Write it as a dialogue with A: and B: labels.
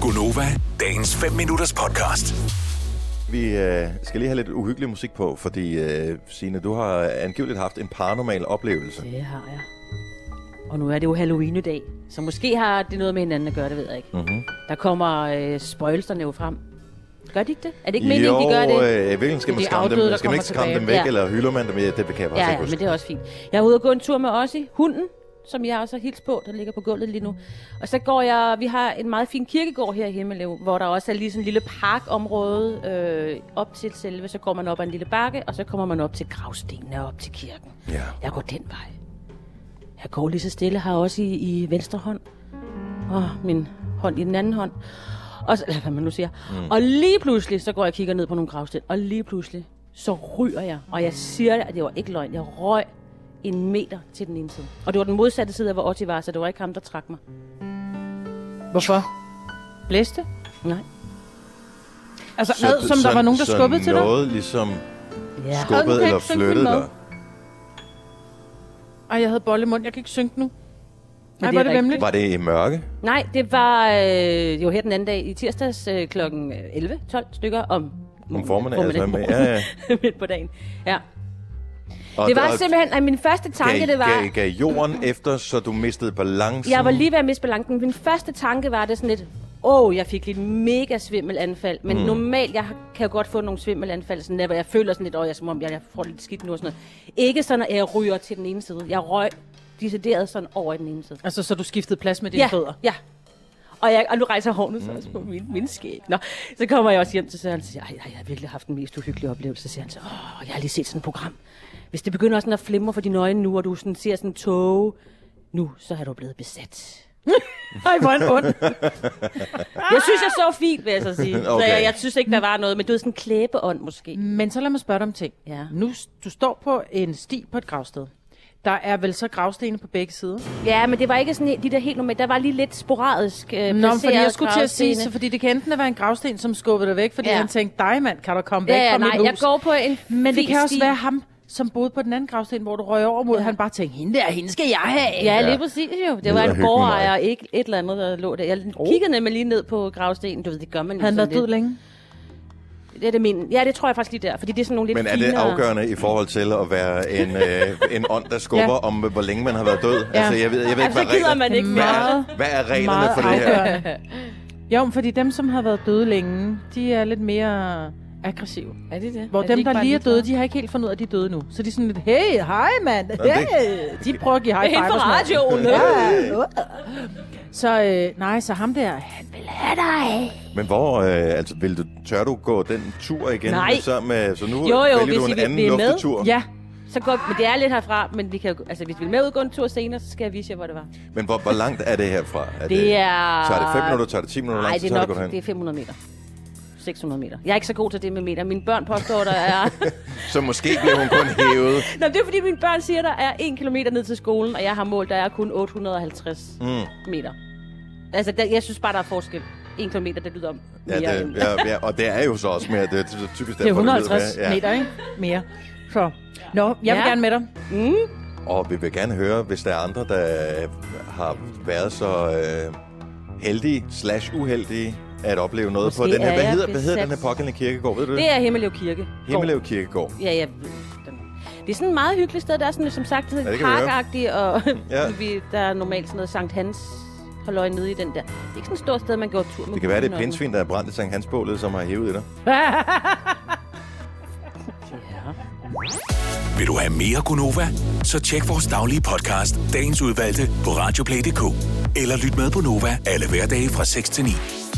A: Gunova, dagens 5 minutters podcast.
B: Vi øh, skal lige have lidt uhyggelig musik på, fordi øh, Signe, du har angiveligt haft en paranormal oplevelse.
C: Det har jeg. Og nu er det jo Halloween-dag, så måske har det noget med hinanden at gøre, det ved jeg ikke.
B: Mhm.
C: Mm-hmm. Der kommer øh, spøgelserne jo frem. Gør de ikke det? Er det ikke meningen, de gør det?
B: øh, hvilken skal man
C: Det er de
B: skræmme dem?
C: afdøde, der
B: skal man
C: kommer
B: ikke skræmme dem væk,
C: tilbage.
B: ja.
C: Ja.
B: eller hylder man dem? Ja, det kan jeg faktisk
C: Ja,
B: ikke
C: ja, men
B: huske.
C: det er også fint. Jeg er ude og gå en tur med Ossi, hunden, som jeg også har hils på, der ligger på gulvet lige nu. Og så går jeg, vi har en meget fin kirkegård her i Himmelev, hvor der også er lige sådan en lille parkområde øh, op til selve. Så går man op ad en lille bakke, og så kommer man op til gravstenene og op til kirken.
B: Ja.
C: Jeg går den vej. Jeg går lige så stille, har også i, i venstre hånd, og min hånd i den anden hånd. Og så, eller hvad man nu siger. Mm. Og lige pludselig, så går jeg og kigger ned på nogle gravsten, og lige pludselig, så ryger jeg. Og jeg siger det, at det var ikke løgn. Jeg røg en meter til den ene side. Og det var den modsatte side af, hvor Otti var, så det var ikke ham, der trak mig.
D: Hvorfor?
C: Blæste? Nej.
D: Altså, så, ad, som der var nogen, der
B: så
D: skubbede til dig?
B: noget ligesom
C: Ja.
B: skubbede
D: Okay,
B: eller
D: synk min
B: flyttede
D: mad.
B: dig.
D: Ej, jeg havde bolle i munden. Jeg kan ikke synke nu. Nej,
C: det
D: var
C: er
D: det
C: rigtigt.
D: vemmeligt?
B: Var det i mørke?
C: Nej, det var øh, jo her den anden dag i tirsdags øh, kl. 11-12 stykker om
B: Om formiddagen? Altså, med, ja, ja.
C: ja. midt på dagen. Ja.
B: Og,
C: Det var
B: og
C: simpelthen, at min første tanke,
B: gav,
C: det var...
B: Gav, gav jorden efter, så du mistede balancen?
C: Jeg var lige ved at miste balancen. Min første tanke var det sådan lidt, åh, oh, jeg fik lidt mega svimmelanfald. Men mm. normalt, jeg har- kan jo godt få nogle svimmelanfald, sådan der, hvor jeg føler sådan lidt, åh, oh, jeg, er som om jeg, jeg får lidt skidt nu og sådan noget. Ikke sådan, at jeg ryger til den ene side. Jeg røg decideret sådan over i den ene side.
D: Altså, så du skiftede plads med dine fødder?
C: Ja. Og, jeg, og nu rejser hårene så også på min, min skæg. Nå, så kommer jeg også hjem til Søren og siger, "Ej, ej, jeg har virkelig haft den mest uhyggelige oplevelse. Så siger han så, åh, jeg har lige set sådan et program. Hvis det begynder sådan at flimre for dine øjne nu, og du sådan ser sådan en tog, nu så er du blevet besat. Ej, hvor en ond. jeg synes, jeg så fint, vil jeg så sige. Okay. Så
B: Okay.
C: jeg, jeg synes ikke, der var noget, men du ved, sådan en klæbeånd måske.
D: Men så lad mig spørge dig om ting.
C: Ja.
D: Nu, s- du står på en sti på et gravsted. Der er vel så gravstene på begge sider?
C: Ja, men det var ikke sådan, de der helt normalt. Der var lige lidt sporadisk øh,
D: Nå, men fordi jeg
C: placeret
D: skulle til at sige,
C: gravstene.
D: så fordi det kan enten være en gravsten, som skubbede dig væk, fordi
C: Ja.
D: ja. han tænkte, dig mand, kan du komme væk
C: Ja, ja,
D: fra
C: nej,
D: mit
C: jeg
D: hus?
C: går på en
D: Men det
C: fin
D: kan også
C: sti.
D: være ham, som boede på den anden gravsten, hvor du røg over mod, ja. han bare tænkte, hende der, hende skal jeg have.
C: Ja, lige præcis jo. Det
B: Ned
C: var
B: og
C: en
B: hygge med
C: gårdejer,
B: mig.
C: ikke et eller andet, der lå der. Jeg kiggede nemlig lige ned på gravstenen. Du ved, det gør man jo
D: Oh. Han
C: sådan
D: var død
C: lidt.
D: længe.
C: Det er det min. Ja, det tror jeg faktisk lige der, fordi det er sådan nogle lidt
B: Men er det
C: finere...
B: afgørende i forhold til at være en, øh, en ånd, der skubber ja.
D: Ja.
B: om, hvor længe man har været død? Ja.
D: Ja.
B: Altså, jeg ved, jeg ved ikke,
C: Jamen,
B: hvad
C: så gider
B: regler-
C: man ikke
B: hvad,
C: mere.
B: er- hvad er reglerne for det her?
D: her. Jo, men fordi dem, som har været døde længe, de er lidt mere aggressive.
E: Er det det?
D: Hvor
E: er
D: dem,
E: de ikke
D: der
E: bare
D: lige er døde,
E: ligeglade?
D: de har ikke helt fundet ud af, at de er døde nu. Så de er sådan lidt, hey, hej mand,
B: det-
D: hey. De prøver at give high
C: Det er
D: five.
C: hende fra
D: og sådan noget.
C: radioen.
D: Så øh, nej, så ham der, han vil have dig.
B: Men hvor, øh, altså, vil du, tør du gå den tur igen?
C: Nej.
B: Så, med, så nu
C: Jo, jo,
B: vælger
C: hvis
B: du
C: I
B: en
C: vil-
B: anden
C: vil med.
B: luftetur.
D: Ja,
C: Så går, men det er lidt herfra, men vi kan, jo- altså, hvis vi vil med ud gå en tur senere, så skal jeg vise jer, hvor det var.
B: Men hvor, hvor langt er det herfra? Er
C: Det er-
B: Tager det 5 minutter, tager det 10 minutter?
C: Nej,
B: langt,
C: det
B: så
C: er
B: tager
C: nok
B: godt
C: det er
B: hen.
C: 500 meter. 600 meter. Jeg er ikke så god til det med meter. Mine børn påstår, der er...
B: Så måske bliver hun kun hævet.
C: Nå, det er fordi, mine børn siger, der er 1 km ned til skolen, og jeg har målt, der er kun 850 mm. meter. Altså, der, jeg synes bare, der er forskel. 1 km, det lyder om
B: Ja,
C: mere
B: det,
C: end-
B: ja, ja, og det er jo så også mere, det er typisk
D: det er
B: derfor, lyder
D: 150
B: mere.
D: meter, ikke? Mere. Så. Nå, jeg vil
C: Ja.
D: gerne med dig.
B: Og vi vil gerne høre, hvis der er andre, der har været så øh, heldige slash uheldige at opleve noget på
C: Måske
B: den her.
C: er
B: Hvad
C: jeg
B: hedder, hvad hedder den
C: besat.
B: her pågældende kirkegård? Ved du det?
C: Det er Himmeløv Kirke.
B: Himmelev Kirkegård.
C: Ja, ja. Den. Det er sådan et meget hyggeligt sted. Der er sådan, som sagt,
B: Ja, det
C: lidt
B: kan vi høre.
C: parkagtigt, og
B: Ja.
C: ja. vi, der er normalt sådan noget Sankt Hans halløj nede i den der. Det er ikke sådan et stort sted, man går tur med.
B: Altså, Det kan være, det er
C: hundene.
B: pindsvin, der er brændt i Sankt Hans-bålet, som har hævet i dig.
C: Ja.
A: Vil du have mere Gunova? Så tjek vores daglige podcast, dagens udvalgte, på radioplay.dk. Eller lyt med på Nova alle hverdage fra 6 til 9.